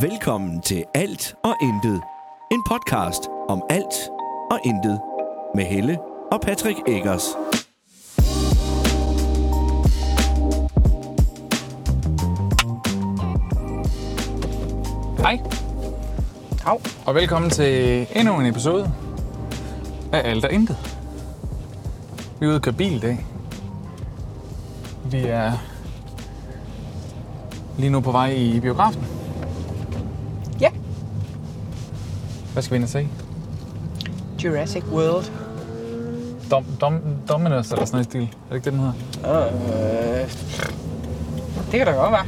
Velkommen til Alt og Intet. En podcast om alt og intet. Med Helle og Patrick Eggers. Hej. Hav. Og velkommen til endnu en episode af Alt og Intet. Vi er ude og køre bil i dag. Vi er lige nu på vej i biografen. Ja, Hvad skal vi ind og se? Jurassic World. Dom, dom, Dominus eller sådan noget i stil. Er det ikke det, den hedder? Øh, det kan da godt være.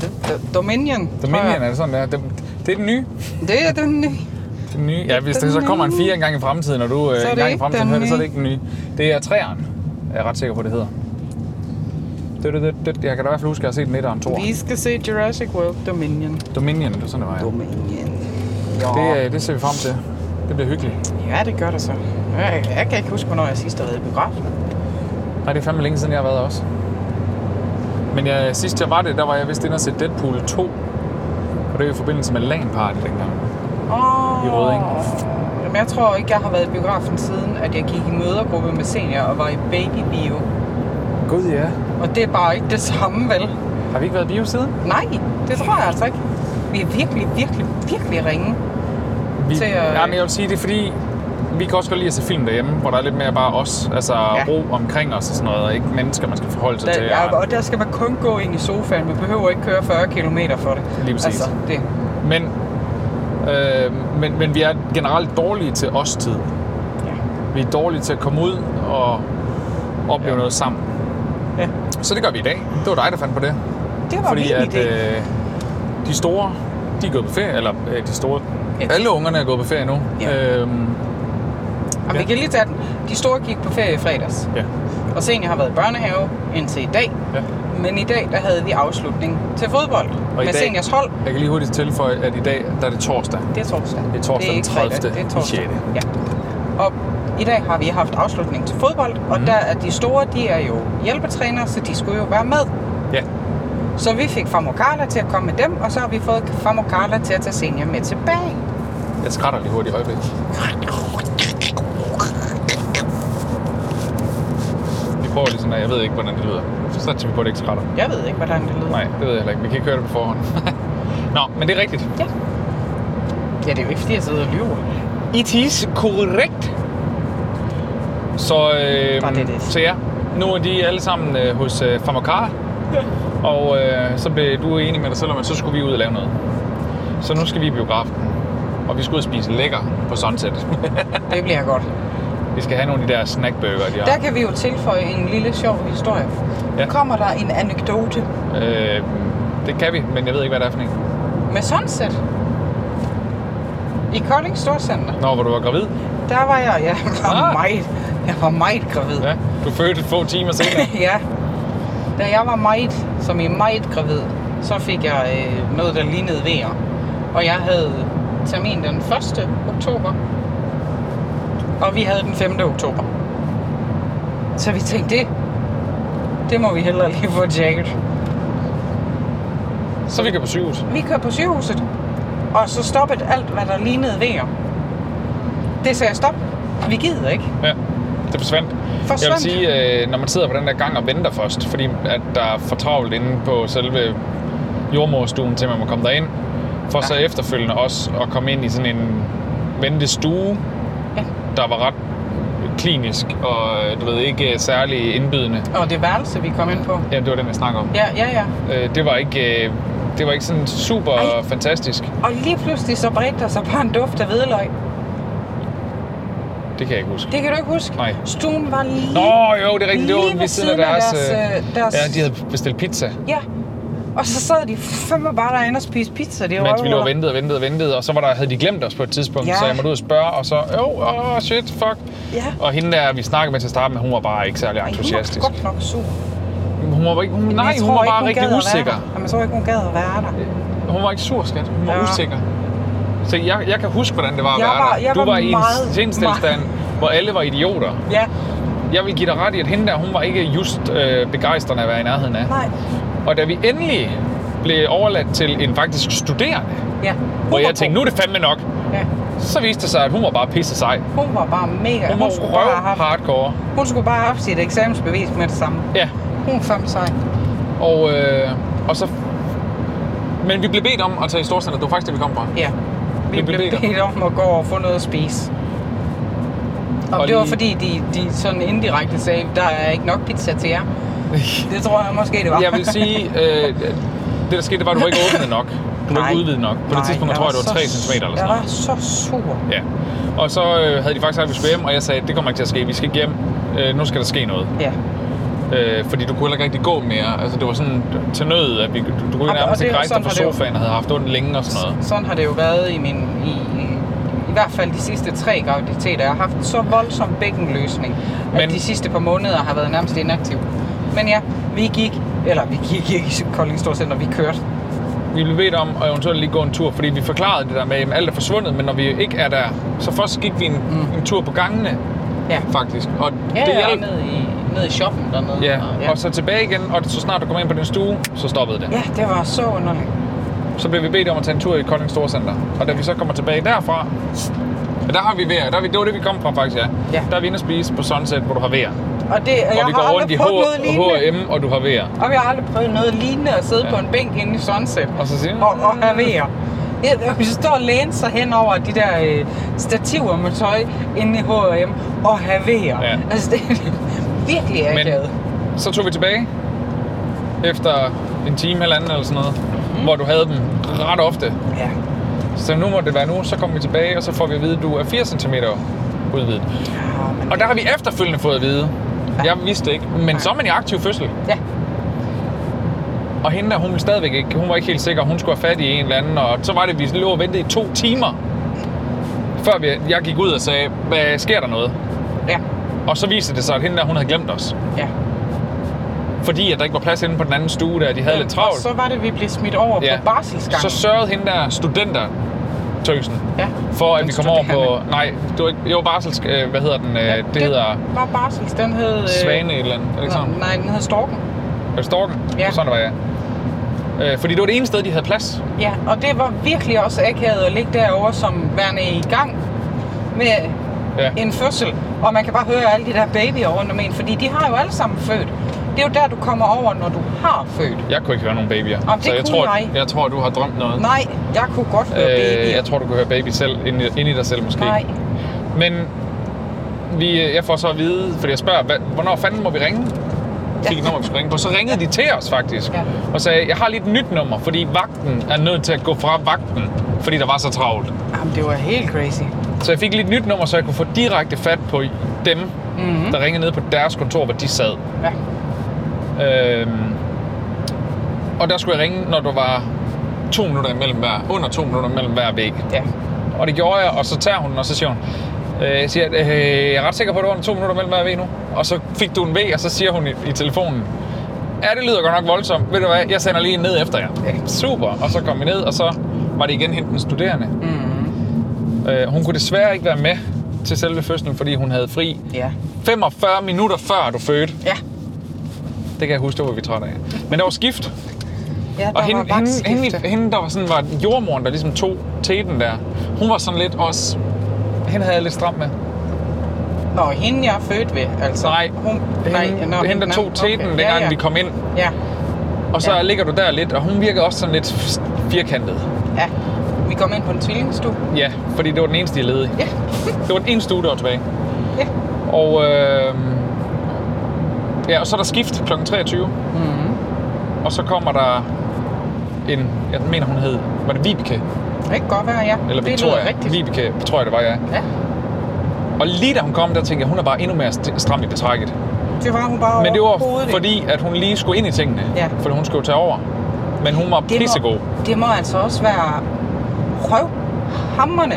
Det- det- Dominion. tror Dominion jeg. er det sådan der. Det, det er den nye. Det er den nye. Det er den nye. Ja, hvis der så kommer en fire engang i fremtiden, og du øh, det engang i ikke fremtiden den hører det, så er det nye. ikke den nye. Det er træeren. Jeg er ret sikker på, det hedder. Det, det, det, det. Jeg kan da i hvert fald huske, at jeg har set den et og en toer. Vi skal se Jurassic World Dominion. Dominion, det var sådan, det var. Ja. Dominion. Det, øh, det ser vi frem til. Det bliver hyggeligt. Ja, det gør det så. Jeg, jeg kan ikke huske, hvornår jeg sidst har været i biografen. Nej, det er fandme længe siden, jeg har været også. Men jeg, sidst jeg var det, der var jeg vist inde og se Deadpool 2. Og det er i forbindelse med LAN Party dengang. Oh. I Rødding. Jamen, jeg tror ikke, jeg har været i biografen siden, at jeg gik i mødergruppe med senior og var i babybio. Gud ja. Og det er bare ikke det samme, vel? Har vi ikke været i bio siden? Nej, det tror jeg altså ikke. Vi er virkelig, virkelig, virkelig ringe. Vi, Til, øh, ja, men jeg vil sige, det er fordi, vi kan også godt lide at se film derhjemme, hvor der er lidt mere bare os. Altså ja. ro omkring os og sådan noget, og ikke mennesker, man skal forholde sig Der, til. ja, og- og der skal man kun gå ind i sofaen. Man behøver ikke køre 40 km for det. Lige præcis. Altså, det. Men, øh, men, men vi er generelt dårlige til os-tid. Ja. Vi er dårlige til at komme ud og opleve ja. Ja. noget sammen. ja. Så det gør vi i dag. Det var dig, der fandt på det. Det var Fordi min at idé. øh, de store, de er gået på ferie, eller øh, de store, Ja, de- alle ungerne er gået på ferie nu. Ja. Øhm, Og vi ja. kan lige tage den. De store gik på ferie i fredags. ja. Og senior har været i børnehave indtil i dag. ja. Men i dag, der havde vi afslutning til fodbold. i med dag- seniors hold. Jeg kan lige hurtigt tilføje, at i dag, der er det torsdag. Det er torsdag. Det er torsdag den ikke fredag, 30. Det er torsdag. i sjette. Ja. Og i dag har vi haft afslutning til fodbold. Og Mhm. der er de store, de er jo hjælpetrænere, så de skulle jo være med. Ja. Så vi fik Famo Carla til at komme med dem, og så har vi fået Famo Carla til at tage senior med tilbage. Jeg skrætter lige hurtigt i øjeblikket. Vi prøver lige sådan her. Jeg ved ikke, hvordan det lyder. Så satser vi på, at det ikke skrætter. Jeg ved ikke, hvordan det lyder. Nej, det ved jeg heller ikke. Vi kan ikke høre det på forhånd. Nå, men det er rigtigt. Ja. ja, det er jo ikke, fordi jeg sidder og lyver. It is korrekt. Så, Var det øh, det? så ja, nu er de alle sammen øh, hos øh, Famakar. Og øh, så blev du enig med dig selv om, at så skulle vi ud og lave noget. Så nu skal vi i biografen. Og vi skal ud og spise lækker på Sunset. Det bliver godt. vi skal have nogle af de der snackburger, de Der har. kan vi jo tilføje en lille sjov historie. Ja. Kommer der en anekdote Øh, det kan vi, men jeg ved ikke, hvad det er for en. med Sunset? I Kolding Storcenter, Nå, hvor du var gravid. der var jeg, jeg var Ah. ah. meget, jeg var meget gravid. Ja, du fødte få timer senere. ja. Da jeg var meget, som i meget gravid, så fik jeg øh, noget, der lignede vejer. Og jeg havde termin den 1. oktober, og vi havde den 5. oktober. Så vi tænkte, det, det må vi hellere lige få tjekket. så vi kan på sygehuset. Vi kører på sygehuset, og så stoppede alt, hvad der lignede vejer. Det sagde jeg stop. Vi gider ikke. Ja, det forsvandt. Jeg vil Forsvandt. sige, øh, når man sidder på den der gang og venter først, fordi at der er for travlt inde på selve jordmorstuen, til man må komme derind, for så efterfølgende også at komme ind i sådan en ventestue, Ja. der var ret klinisk og øh, du ved ikke øh, særlig indbydende. Og det værelse, vi kom ind på. Ja, det var den, jeg snakker om. Ja, ja, ja. Øh, det var ikke, øh, det var ikke sådan super Ej. fantastisk. Og lige pludselig så bredte der sig bare en duft af hvidløg. Det kan jeg ikke huske. Det kan du ikke huske? Nej. Stuen var lige... Nå, jo, det er rigtigt. Det lige var ved siden af deres... øh, øh, deres... Ja, de havde bestilt pizza, Ja. Og så sad de fandme bare derinde og spiste pizza. Det var mens vi lå og ventede og ventede og ventede, og så var der, havde de glemt os på et tidspunkt, Ja. så jeg måtte ud og spørge, og så, jo, oh, oh, shit, fuck. Ja. Og hende der, vi snakkede med til at starte med, hun var bare ikke særlig Ej, entusiastisk. Hun var godt nok sur. Hun var ikke, hun, Men nej, jeg hun tror var ikke, bare gad rigtig at være usikker. der. Jamen, jeg tror ikke, hun gad at være der. Hun var ikke sur, skat. Hun var Ja. usikker. Så jeg, jeg kan huske, hvordan det var at Jeg være var- der. jeg Du var var i en meget- sindstilstand, hvor alle var idioter. Ja, Jeg vil give dig ret i, at hende der, hun var ikke just øh, begejstrende at være i nærheden af. nej. Og da vi endelig blev overladt til en faktisk studerende. Ja. Hvor var jeg tænkte, nu er det fandme nok. god. Ja. Så viste det sig, at hun var bare pisse sej. Hun var bare mega. Hun var skulle bare have røv haft, hardcore. hun skulle bare have haft sit eksamensbevis med det samme. Ja, Hun er fandme sej. og, øh, og så... Men vi blev bedt om at tage i Storcenter. Det var faktisk det, vi kom fra. Ja. Vi, Vi blev blev bedt om- bedt om at gå og få noget at spise. Og, Og det var lige- fordi, de, de sådan indirekte sagde, der er ikke nok pizza til jer. Det tror jeg måske, det var. Jeg vil sige, øh, det der skete, det var, at du var ikke åbnet nok. Du var Nej. ikke udvidet nok. På det Nej, tidspunkt, jeg tror jeg, det var 3 cm eller sådan Jeg noget. var så sur. Ja. Og så øh, havde de faktisk sagt, at vi skulle hjem, og jeg sagde, det kommer ikke til at ske. Vi skal ikke hjem. Øh, nu skal der ske noget. Ja. Øh, fordi du kunne heller ikke rigtig gå mere. Altså, det var sådan til nød, at vi, du, du kunne og nærmest det ikke var rejse dig sådan, på har det jo- sofaen og havde haft ondt længe og sådan noget. Sådan har det jo været i min... I, i, i hvert fald de sidste tre graviditeter. Jeg har haft så voldsom bækkenløsning, Men... Men- at de sidste par måneder har været nærmest inaktiv. Men ja, vi gik, eller vi gik ikke i Kolding Storcenter, vi kørte. Vi blev bedt om at eventuelt lige gå en tur, fordi vi forklarede det der med, at alt er forsvundet, men når vi ikke er der, så først gik vi en, mm. en tur på gangene, Ja, faktisk. Og ja det det og hjalp. ned i, ned i shoppen dernede. Ja, og, og så tilbage igen, og så snart du kom ind på din stue, så stoppede det. ja, det var så underligt. Så blev vi bedt om at tage en tur i Kolding Storcenter. Og da vi så kommer tilbage derfra, ja, der har vi vejr. Der er vi, det var det, vi kom fra faktisk, ja. Ja. Der er vi inde og spise på Sunset, hvor du har vejr. Og det, og jeg og vi har går rundt i aldrig prøvet noget H- lignende. H&M, og du har vejr. Og jeg har aldrig prøvet noget lignende at sidde Ja. ja. på en bænk inde i Sunset. Og så siger og, og have vejer. Jeg, jeg står og læne sig hen over de der øh, stativer med tøj inde i H&M og have vejer. Ja. Altså, det er virkelig akavet. så tog vi tilbage efter en time, halvanden eller sådan noget, Mhm. mm. hvor du havde dem ret ofte. Ja. Så nu må det være nu, så kommer vi tilbage, og så får vi at vide, at du er 4 cm udvidet. Ja, men, Og der har vi efterfølgende fået at vide, jeg vidste det ikke, men så er man i aktiv fødsel. ja. Og hende der, hun ville stadigvæk ikke, hun var ikke helt sikker, hun skulle have fat i en eller anden, og så var det, vi lå og ventede i to timer, før vi, jeg gik ud og sagde, hvad sker der noget? Ja. Og så viste det sig, at hende der, hun havde glemt os. ja. Fordi at der ikke var plads inde på den anden stue, der de havde lidt Og travlt. så var det, vi blev smidt over ja. på barselsgangen. Så sørgede hende der studenter tøsen ja. for at Den vi kom over på... studerende. Nej, det var ikke... Jo, barsels... Øh, hvad hedder den? Øh, Ja, det, det hedder var barsels. Den hed... øh, Svane et eller andet. Er det ikke sådan? Nå, Nej, den hed Storken. Er det Storken? Ja. Sådan var jeg. Øh, fordi det var det eneste sted, de havde plads. Ja, og det var virkelig også akavet at ligge derovre som værende i gang med Ja. en fødsel. Og man kan bare høre alle de der babyer rundt om en, fordi de har jo alle sammen født. Det er jo der, du kommer over, når du har født. Jeg kunne ikke høre nogen babyer. Jamen, det så jeg kunne tror, jeg. jeg tror, du har drømt noget. Nej, jeg kunne godt høre øh, babyer. jeg tror, du kunne høre baby selv, ind i, ind i dig selv måske. Nej, Men vi, øh, jeg får så at vide, fordi jeg spørger, hvad, hvornår fanden må vi ringe? Fik et nummer, vi skulle ringe på. Så ringede de til os faktisk, Ja. og sagde, jeg har lige et nyt nummer, fordi vagten er nødt til at gå fra vagten, fordi der var så travlt. Jamen, det var helt crazy. Så jeg fik lige et nyt nummer, så jeg kunne få direkte fat på dem, mm-hmm. der ringede ned på deres kontor, hvor de sad. Ja. Øhm, og der skulle jeg ringe, når der var to minutter imellem hver, under to minutter imellem hver væg. ja. Og det gjorde jeg, og så tager hun den, og så siger hun, øh, siger, øh, jeg er ret sikker på, at det var under to minutter mellem hver V nu. Og så fik du en V, og så siger hun i, i telefonen, ja, det lyder godt nok voldsomt. Ved du hvad, jeg sender lige en ned efter jer. Super. Og så kom vi ned, og så var det igen hende den studerende. Mm. Øh, hun kunne desværre ikke være med til selve fødslen, fordi hun havde fri Ja. 45 minutter før du fødte. Ja. Det kan jeg huske, det var vi trætte af. Men der var skift, Ja, der og hende, var hende, hende, hende, hende, der var sådan, var jordmoren, der ligesom tog teten der, hun var sådan lidt også... Hende havde jeg lidt stramt med. Nå, hende jeg er født ved, altså. Nej, hun, nej, hende, nå, hende der nå, tog teten, okay. dengang ja, ja. vi kom ind. Ja, Og så Ja. ja. ligger du der lidt, og hun virker også sådan lidt firkantet. ja. Vi kom ind på en tvillingstue. Ja, fordi det var den eneste, jeg ledig. Ja. Det var den eneste uge, der var tilbage. Ja. Og, øh, ja, og så er der skift kl. 23. Mm-hmm. Mhm. Og så kommer der en, jeg mener hun hed, var det Vibeke? Det kan godt være, ja. Eller det lyder Victoria? rigtigt. Vibeke, tror jeg det var, ja. Ja, Og lige da hun kom, der tænkte jeg, hun er bare endnu mere st- stram i betrækket. det var hun bare Men det var overhovedet ikke. fordi, at hun lige skulle ind i tingene, Ja. fordi hun skulle jo tage over. Men hun var Det må- pissegod. Det må altså også være røvhammerne.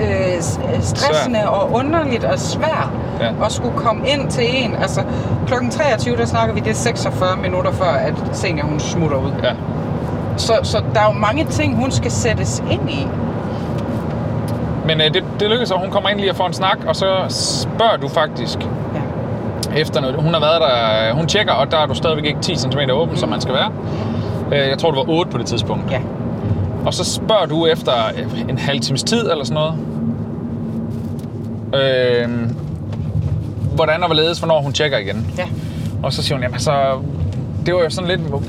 Øh, s- stressende og underligt og svært Ja. at skulle komme ind til en. Altså, klokken 23, der snakker vi, det er 46 minutter før, at senior hun smutter ud. Ja. Så, så der er jo mange ting, hun skal sættes ind i. Men øh, det, det lykkedes, og hun kommer ind lige og får en snak, og så spørger du faktisk Ja. efter noget. Hun har været der, øh, hun tjekker, og der er du stadigvæk ikke 10 cm åben, mm. som man skal være. Øh, Jeg tror, du var 8 på det tidspunkt. Ja. Og så spørger du efter øh, en halv times tid eller sådan noget. Øh, hvordan og hvorledes, hvornår hun tjekker igen. Ja. Og så siger hun, jamen så... Det var jo sådan lidt, hvor-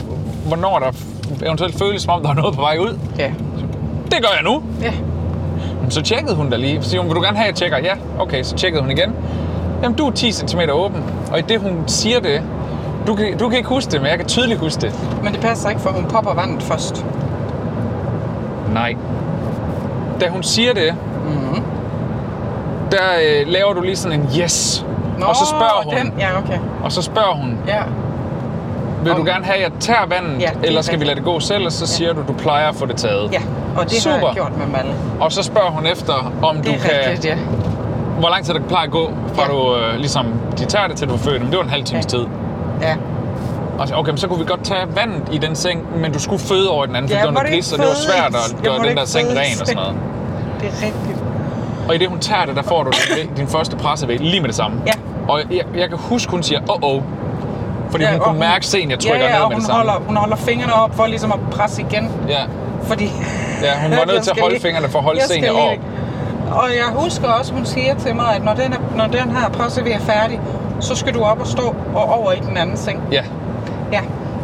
hvornår der eventuelt føles, som om der er noget på vej ud. Ja. Det gør jeg nu. Ja. "Men Så tjekkede hun da lige. Så siger hun, vil du gerne have, at jeg tjekker? Ja, okay. Så tjekkede hun igen. Jamen, du er 10 cm åben. Og i det, hun siger det, du kan, du kan ikke huske det, men jeg kan tydeligt huske det. Men det passer ikke, for hun popper vandet først. Nej. Da hun siger det, mm-hmm. der øh, laver du lige sådan en yes. Nå, og så spørger hun, den. Den. Ja, okay. og så spørger hun, Ja. vil du Om- gerne have, at jeg tager vandet, Ja, ja, det er eller skal vi rigtigt. lade det gå selv? Og så siger du, du plejer at få det taget. Ja, og det har Super. jeg gjort med Malle. Og så spørger hun efter, om du Det er kan, rigtigt, ja. hvor lang tid det plejer at gå, fra Ja. du øh, ligesom, de tager det til du er født. Men det var en halv times Ja. tid. Ja, Og så, okay, men så kunne vi godt tage vandet i den seng, men du skulle føde over i den anden, for Ja, det var må noget det ikke gris, og det var fødes? svært at Jeg må gøre det den der ikke seng fødes. ren og sådan noget. det er rigtigt. Og i det hun tager det, der får du din, din første pressevæg lige med det samme. Ja. Og jeg, jeg kan huske, hun siger, åh, oh, oh, fordi ja, hun og kunne mærke sen, jeg trykker ja, ja, ned med og det hun samme. holder, hun holder fingrene op for ligesom at presse igen, Ja, fordi... ja, hun var Jeg nødt til at skal holde lige- fingrene for at holde jeg skal sen lige- op. Og jeg husker også, hun siger til mig, at når den, er, når den her presse er færdig, så skal du op og stå og over i den anden seng. Ja, Ja,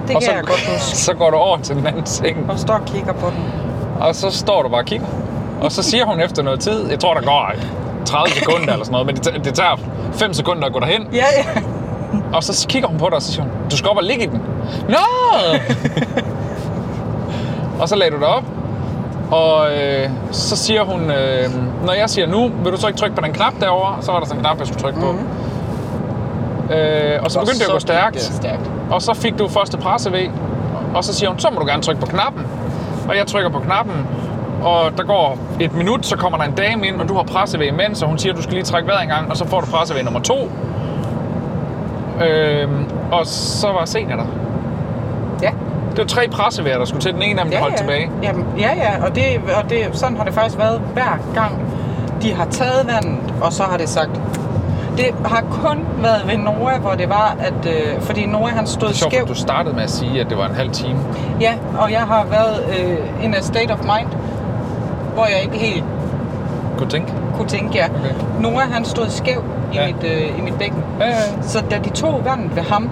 det og kan jeg godt huske. så går du over til den anden seng, Og står og kigger på den. og så står du bare og kigger. Og så siger hun efter noget tid, jeg tror, der går 30 sekunder eller sådan noget, men det, tager- det tager 5 sekunder at gå derhen. Ja, ja. Og så kigger hun på dig, og så siger hun, du skal op og ligge i den. Nå! og så lagde du dig op, og øh, så siger hun, øh, når jeg siger nu, vil du så ikke trykke på den knap derovre? Og så var der sådan en knap, jeg skulle trykke på. Mm-hmm. Øh, og så begyndte det at gå Mhm. gik stærkt, Det stærkt. og så fik du første presse ved, og så siger hun, så må du gerne trykke på knappen. Og jeg trykker på knappen, og der går et minut, så kommer der en dame ind, og du har pressevæg imens, og hun siger, du skal lige trække vejret en gang, og så får du pressevæg nummer to. Øhm, og så var senior der. Ja. Det var tre pressevæger, der skulle til. Den ene af dem ja, holdt ja. tilbage. Jamen, ja, ja, og, det, og det, sådan har det faktisk været hver gang, de har taget vandet, og så har det sagt... Det har kun været ved Nora, hvor det var, at... Øh, fordi Nora, han stod Det er sjovt, at skævt. du startede med at sige, at det var en halv time. Ja, og jeg har været øh, in a state of mind, hvor jeg ikke helt Kunne du tænke? kunne tænke jer. Okay. Nora, han stod skæv i, Ja. ja. mit, øh, i mit bækken. Ja, ja, ja. Så da de tog vandet ved ham,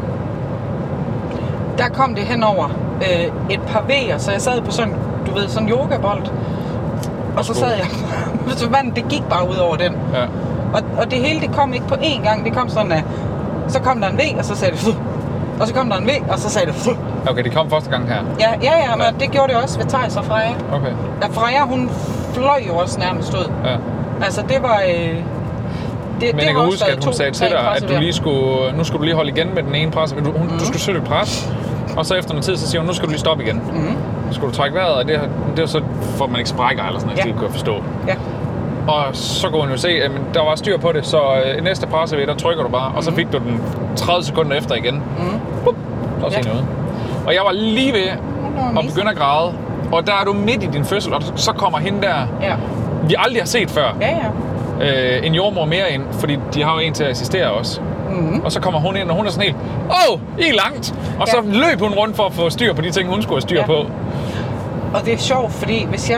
der kom det henover øh, et par V'er, så jeg sad på sådan, du ved, sådan en yogabold. Og så sko. sad jeg, så vandet, det gik bare ud over den. ja. Og, og det hele, det kom ikke på én gang, det kom sådan af, så kom der en V, og så sagde det, "Fuh." og så kom der en V, og så sagde det, "Fuh." Okay, det kom første gang her. ja, ja, ja, men det gjorde det også ved Thijs og Freja. Okay, Ja, Freja, hun fløj jo også nærmest ud. ja. Altså, det var... Øh, det, Men jeg kan huske, at hun sagde til dig, at du lige skulle, nu skulle du lige holde igen med den ene pres. Du, hun, Mhm. mm. du skulle søge pres, og så efter noget tid, så siger hun, nu skal du lige stoppe igen. Mm. Så skulle du trække vejret, og det, det er så, for at man ikke sprækker eller sådan noget, Mhm. Ja. ja. det kan jeg forstå. Ja, Og så kunne hun jo se, at jamen, der var styr på det, så øh, næste presse ved, der trykker du bare, og Mhm. så fik du den 30 sekunder efter igen. Mm. Bup, og så Ja. ja. noget. Og jeg var lige ved at mega. begynde at græde, og der er du midt i din fødsel, og så kommer hende der, ja, vi aldrig har set før, ja, ja. øh, en jordmor mere ind, fordi de har jo en til at assistere os. Mhm. Mm-hmm. Og så kommer hun ind, og hun er sådan helt, åh, I er langt! Og så Ja. løb hun rundt for at få styr på de ting, hun skulle have styr Ja. på. Og det er sjovt, fordi hvis jeg...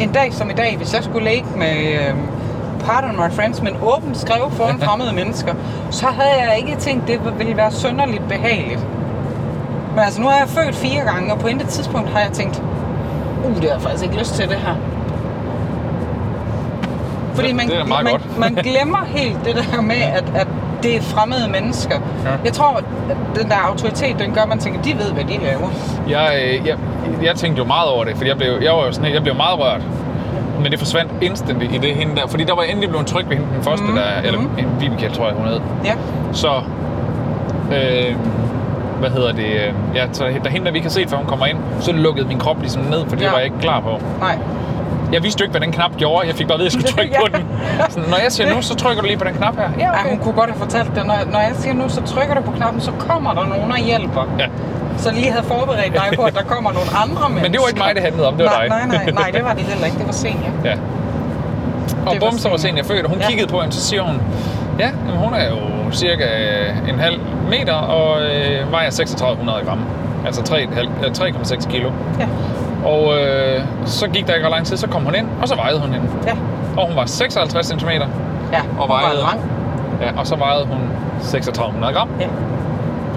En dag som i dag, hvis jeg skulle ligge med... Øh, pardon my friends, men åbent skrev foran fremmede mennesker, så havde jeg ikke tænkt, det ville være sønderligt behageligt. Men altså, nu er jeg født fire gange, og på intet tidspunkt har jeg tænkt, uh, det har jeg faktisk ikke lyst til det her. Fordi Det- man, det er da meget man, godt. man glemmer helt det der med, at, at det er fremmede mennesker. Ja. Jeg tror, at den der autoritet, den gør, at man tænker, de ved, hvad de laver. Jeg, øh, jeg, jeg tænkte jo meget over det, fordi jeg blev, jeg var jo sådan, helt- jeg blev meget rørt. Men det forsvandt instant i det hende der, fordi der var endelig blevet tryg ved hende, den første, Mhm, mm-hmm. der, eller en Vibeke, tror jeg, hun hed. Ja, Så, øh, hvad hedder det, øh, ja, så da hende der, vi ikke har set, før hun kommer ind, så lukkede min krop ligesom ned, fordi ja. Ja. det var jeg ikke klar på. nej. Jeg vidste jo ikke, hvad den knap gjorde. Jeg fik bare at vide, at jeg skulle trykke Ja. på den. Sådan, når jeg siger nu, så trykker du lige på den knap her. Ja, Ej, hun kunne godt have fortalt det. Når, når jeg siger nu, så trykker du på knappen, så kommer der nogen og hjælper. Ja. Så lige havde forberedt dig på, at der kommer nogle andre mennesker. Men det var ikke mig, det handlede om. Det var nej, dig. nej, nej, nej, det var det heller ikke. Det var senior. Ja. Og Det var bum, så var Senior. sen, jeg født, og hun Ja. kiggede på hende, så siger hun, ja, jamen, hun er jo cirka øh, en halv meter, og øh, vejer 3600 gram. altså 3,5 øh, 3,6 kilo. Ja. Og øh, så gik der ikke ret lang tid, så kom hun ind, og så vejede hun hende. Ja. Og hun var 56 cm, Ja, Og hun var vejede. lang. ja, og så vejede hun 3600 gram. Ja.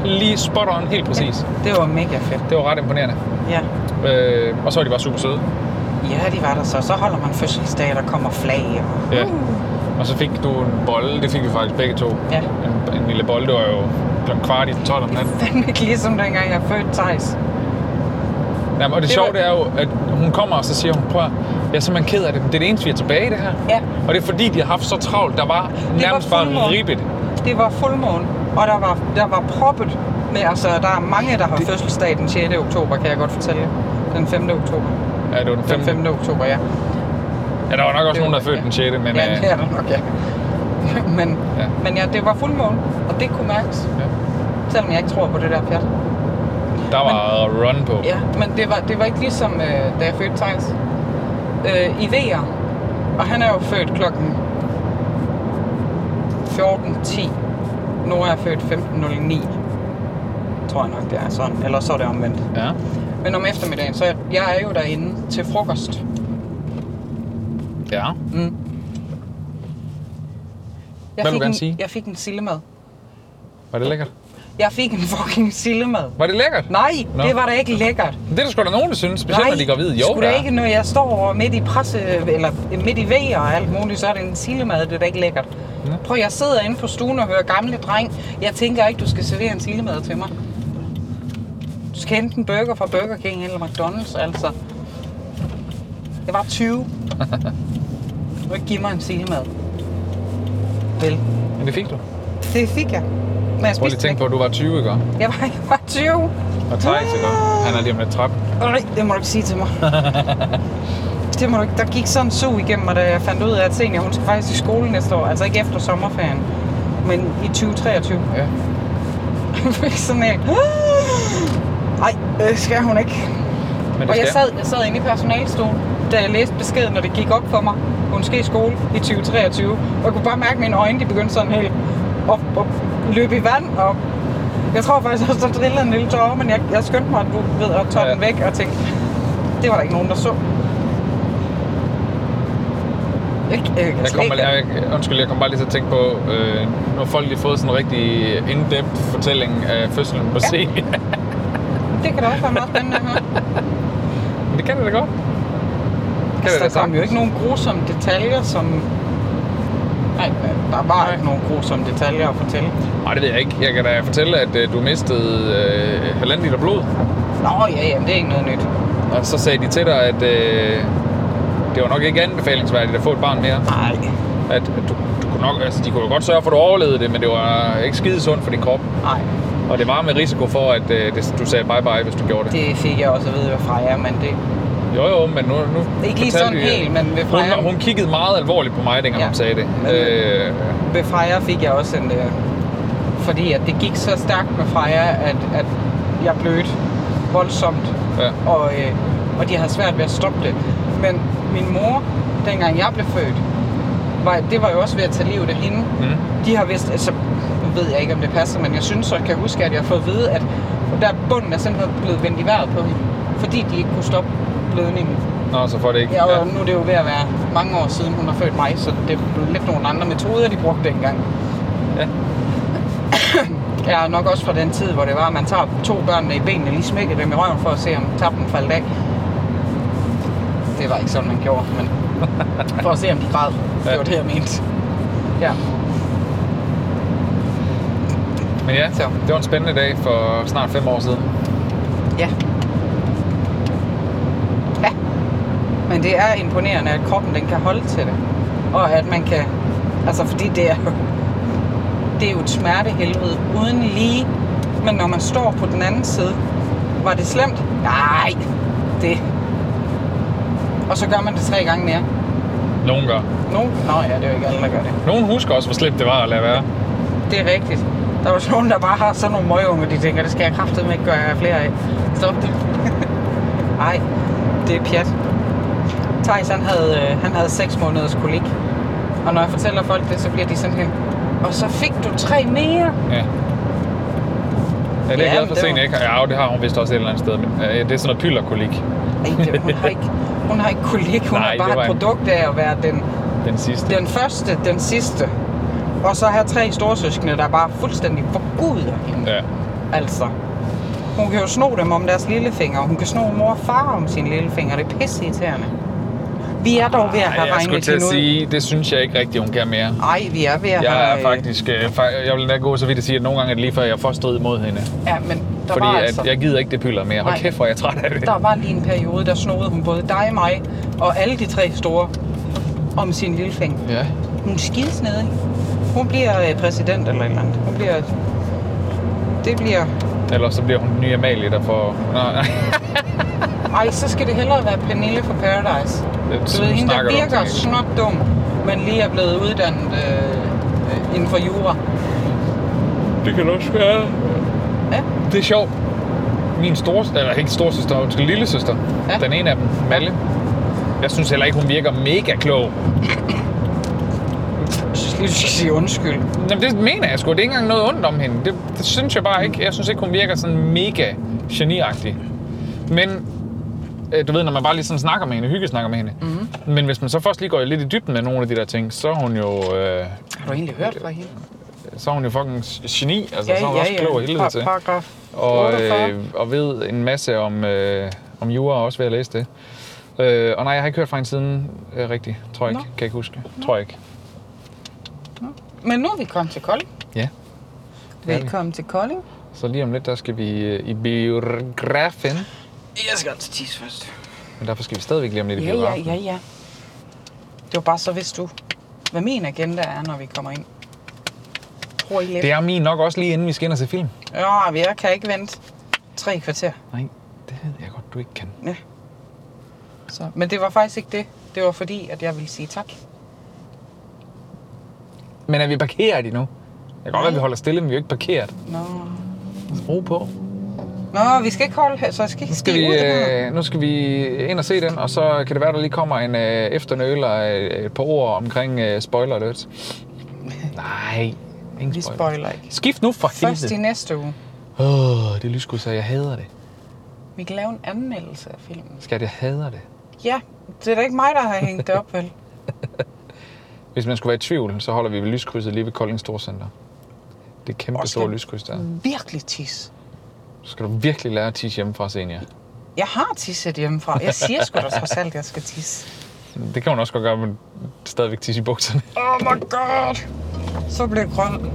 Lige spot on, helt præcis. Ja. Ja, det var mega fedt. Det var ret imponerende. Ja. Øh, og så var de bare super søde. ja, de var der så. Så holder man fødselsdag, der kommer flag. Og... Ja. Og så fik du en bolle, det fik vi faktisk begge to. Uh. Ja. En, en lille bolle, det var jo klokken kvart i 12 om natten. Fandme ikke ligesom dengang, jeg fødte Thijs. Jamen, og det, det Det sjove, var- det er jo, at hun kommer, og så siger hun, prøv at, jeg er simpelthen ked af det, men det er det eneste, vi har tilbage, det her. Ja. Og det er fordi, de har haft så travlt, der var nærmest var bare fuldmåne. ribbet. Det var fuldmåne, og der var, der var proppet med, altså der er mange, der har Det- det... fødselsdag den 6. oktober, kan jeg godt fortælle jer. Den 5. oktober. Ja, det var den 5. Den 5. oktober, ja. Ja, der var nok også Det nogen, der var- fødte den 6. Men, ja, øh, det er der nok, ja. men, Ja. ja. men ja, det var fuldmåne, og det kunne mærkes. Ja. Ja. Selvom jeg ikke tror på det der pjat. der var run på. Ja, men det var, det var ikke ligesom, øh, da jeg fødte Thijs. Øh, I VR, og han er jo født klokken 14.10. Nu er jeg født 15.09. Tror jeg nok, det er sådan. Eller så er det omvendt. Ja. Men om eftermiddagen, så er jeg, jeg er jo derinde til frokost. ja. Mm. Jeg Hvad vil du fik gerne en, sige? Jeg fik en sillemad. Var det lækkert? Jeg fik en fucking sillemad. Var det lækkert? Nej, Nå. no. det var da ikke lækkert. Det er der sgu da nogen, der synes, specielt Nej, når de går hvid. Jo, skulle der det er. ikke, når jeg står over midt i presse, eller midt i vejer og alt muligt, så er det en sillemad, det er da ikke lækkert. Ja. Prøv, jeg sidder inde på stuen og hører gamle dreng. Jeg tænker ikke, du skal servere en sillemad til mig. Du skal hente en burger fra Burger King eller McDonald's, altså. Jeg var 20. Du kan ikke give mig en sillemad. Vel, Men det fik du. det fik jeg. Men Prøv lige jeg at spiste den tænke på, at du var 20 i går. ikke. Jeg var, jeg var 20. Og Thijs i går. Han er lige om lidt 13. Nej, det må du ikke sige til mig. det må du ikke. Der gik sådan en sug igennem mig, da jeg fandt ud af, at senior, hun skal faktisk i skole næste år. Altså ikke efter sommerferien, men i 2023. Ja. Jeg fik sådan en... Nej, øh, skal hun ikke. Men det Og jeg skal. sad, jeg sad inde i personalstolen, da jeg læste beskeden, når det gik op for mig. Hun skal i skole i 2023. Og jeg kunne bare mærke, at mine øjne de begyndte sådan helt at, at løbe i vand. Og jeg tror faktisk også, der drillede en lille tårer, men jeg, jeg skyndte mig du ved, at tage Ja. ja. den væk og tænkte, det var der ikke nogen, der så. Ikke, jeg, Jeg kom, bare- jeg, undskyld, jeg kom bare lige til at tænke på, øh, nu har folk lige fået sådan en rigtig in-depth fortælling af fødslen på ja. scenen. Det kan da også være meget spændende at høre. Men det kan det da godt. Kan det da Altså, der kom sagtens. jo ikke nogen grusomme detaljer, som... Nej, der var Nej. ikke nogen grusomme detaljer at fortælle. Nej, det ved jeg ikke. Jeg kan da fortælle, at øh, du mistede øh, halvanden liter blod. Nå ja, jamen, det er ikke noget nyt. Og så sagde de til dig, at øh, det var nok ikke anbefalingsværdigt at få et barn mere. Nej. At, at du, du kunne nok, altså, de kunne jo godt sørge for, at du overlevede det, men det var ikke skide sundt for din krop. Nej, Og det var med risiko for, at øh, det, du sagde bye-bye, hvis du gjorde det. det fik jeg også at vide ved Freja, men det... Jo, jo, men nu... nu Ikke lige fortalte sådan helt, men ved hun, Freja- hun kiggede meget alvorligt på mig, dengang ja. Ja. hun sagde det. Men- Øh, Ved Freja fik jeg også en... Øh, fordi at det gik så stærkt med Freja, at, at jeg blødte voldsomt, ja. og, øh, og de havde svært ved at stoppe det. Men min mor, dengang jeg blev født, var, det var jo også ved at tage livet af hende. Mm. De har vist, altså, nu ved jeg ikke, om det passer, men jeg synes, og kan huske, at jeg har fået at vide, at der bunden er simpelthen blevet vendt i vejret på hende, fordi de ikke kunne stoppe blødningen. Nå, så får det ikke... Ja, og nu er det jo ved at være mange år siden, hun har født mig, så det er lidt nogle andre metoder, de brugte dengang. Ja. Jeg er nok også fra den tid, hvor det var, at man tager to børnene i benene, lige smækker dem i røven for at se, om tappen faldt af. Det var ikke sådan, man gjorde, men for at se, om de græd. Ja. Det var det, jeg mente. Ja, Men ja, Så. det var en spændende dag for snart fem år siden. Ja. Ja. Men det er imponerende, at kroppen den kan holde til det. Og at man kan... Altså, fordi det er jo... Det er jo et smertehelvede uden lige. Men når man står på den anden side, var det slemt? Nej, det... Og så gør man det tre gange mere. Nogen gør. Nu? Nå ja, det er jo ikke alle, der gør det. Nogen husker også, hvor slemt det var at lade være. Det er rigtigt. Der er også nogen, der bare har sådan nogle møgunger, de tænker, det skal jeg kraftedeme ikke gøre flere af. Stop det. Ej, det er pjat. Thijs, han havde, øh, han havde 6 måneders kolik. Og når jeg fortæller folk det, så bliver de sådan helt... Og så fik du tre mere. Ja. Ja, det er jeg Ja, glad men for at det se, var- ikke? Ja, det har hun vist også et eller andet sted. Men, øh, det er sådan noget pylderkolik, Ej, det, hun, har ikke, hun har ikke kolik, hun Nej, Nej, det er bare var et en- produkt af at være den, den sidste. den første, den sidste. Og så have tre storsøskende, der bare fuldstændig forguder hende. Ja. Altså, hun kan jo sno dem om deres lillefinger. Hun kan sno mor og far om sin lillefinger. Det er pisse irriterende. Vi er dog ved at Ej, have jeg skulle regnet til at hende ud. sige, det synes jeg ikke rigtigt, hun kan mere. Nej, vi er ved at have... Jeg er øh, faktisk, øh, fa- jeg vil da gå så vidt at sige, at nogle gange er det lige før, jeg får strid mod hende. Ja, men der Fordi var at altså... jeg gider ikke det pyller mere. Hold Nej. kæft, hvor er jeg træt af det. Der var lige en periode, der snodede hun både dig, mig og alle de tre store om sin lillefinger. Ja. Hun er skidesnedig. Hun bliver øh, præsident eller et eller andet. Hun bliver... Det bliver... Ellers så bliver hun den nye Amalie, der får... Nej, nej. Ej, så skal det hellere være Pernille fra Paradise. Du ved, hende der snakker du om, virker tænker snot dum, men lige er blevet uddannet øh, øh, inden for jura. jeg. Det kan også være. Ja. Det er sjovt. Min store, eller ikke storsøster, undskyld, lillesøster. Ja. Ja. Den ene af dem, Malle. Jeg synes heller ikke, hun virker mega klog. Jeg synes lige, du skal sige undskyld. Jamen, det mener jeg sgu. Det er ikke engang noget ondt om hende. Det, det synes jeg bare ikke. Jeg synes ikke, hun virker sådan mega geniagtig. Men øh, du ved, når man bare lige sådan snakker med hende, hyggesnakker med hende. Mhm. Mm-hmm. Men hvis man så først lige går lidt i dybden med nogle af de der ting, så er hun jo, øh, Har du egentlig hørt fra hende? så er hun jo fucking geni. Altså, så er hun også klog af helvede til. Paragraf Og, 48. øh, og ved en masse om, øh, om jura også ved at læse det. Øh, og nej, jeg har ikke hørt fra hende siden øh, rigtigt. Tror jeg Nå. ikke. Kan jeg ikke huske. Tror jeg ikke. Men nu er vi kommet til Kolding. Ja. er vi. Velkommen til Kolding. Så lige om lidt, der skal vi øh, i biografen. Jeg skal altså tisse først. Men derfor skal vi stadigvæk lige om lidt i Ja, ja, biografen. ja, ja. Det var bare så, hvis du, hvad min agenda er, når vi kommer ind. Tror I lidt? Det er min nok også lige inden vi skal ind og se film. Ja, men jeg kan ikke vente tre kvarter. Nej, det ved jeg godt, du ikke kan. Ja. Så, men det var faktisk ikke det. Det var fordi, at jeg ville sige tak. Men er vi parkeret endnu? Jeg kan godt være, Nej. at vi holder stille, men vi er jo ikke parkeret. Nå, Ro på. Nå vi skal ikke holde her, så jeg skal ikke Nu skal, stige vi, ud det her. øh, nu skal vi ind og se den, og så kan det være, der lige kommer en øh, efternøler øh, et par ord omkring øh, spoiler alert. Nej, Vi ingen spoiler. spoiler ikke. Skift nu for Først i helvede. næste uge. Åh, det er lysskud, så jeg hader det. Vi kan lave en anmeldelse af filmen. Skat, jeg hader det. Ja, det er da ikke mig, der har hængt det op, vel? Hvis man skulle være i tvivl, så holder vi ved lyskrydset lige ved Kolding Storcenter. Det er kæmpe Og skal- store lyskryds der. Virkelig tis. Så skal du virkelig lære at tisse hjemmefra, senior. Jeg har tisset hjemmefra. Jeg siger sgu da trods alt, at jeg skal tisse. Det kan hun også godt gøre, men stadigvæk tisse i bukserne. Oh my god! Så blev det grøn.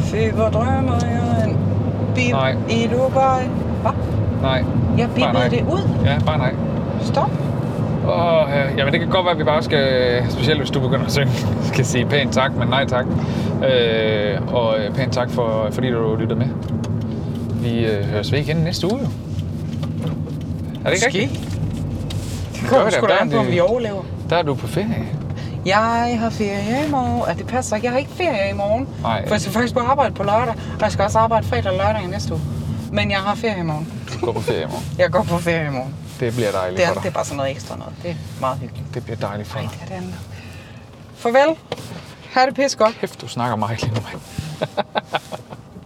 Fik og drømmer jeg en bil Nej. i Dubai. Hva? Nej, Jeg bippede nej. det ud. ja, bare nej. Stop. Åh, øh, jamen det kan godt være, at vi bare skal, specielt hvis du begynder at synge, skal sige pænt tak, men nej tak. Øh, og øh, pænt tak, for, fordi du lyttede med. Vi øh, høres ved igen næste uge, jo. Er det ikke Måske. rigtigt? Det Gør kommer det, sgu da der er an på, om det- vi overlever. Der er du på ferie. Jeg har ferie i morgen. Ja, det passer ikke. Jeg har ikke ferie i morgen. Nej. For jeg skal faktisk på arbejde på lørdag. Og jeg skal også arbejde fredag og lørdag i næste uge. Men jeg har ferie i morgen. Du går på ferie i morgen. Jeg går på ferie i morgen. Det bliver dejligt Det er, for det er dig. bare sådan noget ekstra noget. Det er meget hyggeligt. Det bliver dejligt for Ej, dig. det er det andet. Farvel. Ha' det pis godt. Kæft, du snakker meget lige nu, mand.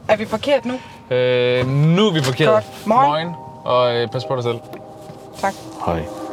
Er vi parkeret nu? Øh, nu er vi parkeret. Godt. Moin. Og øh, pas på dig selv. Tak. Hej.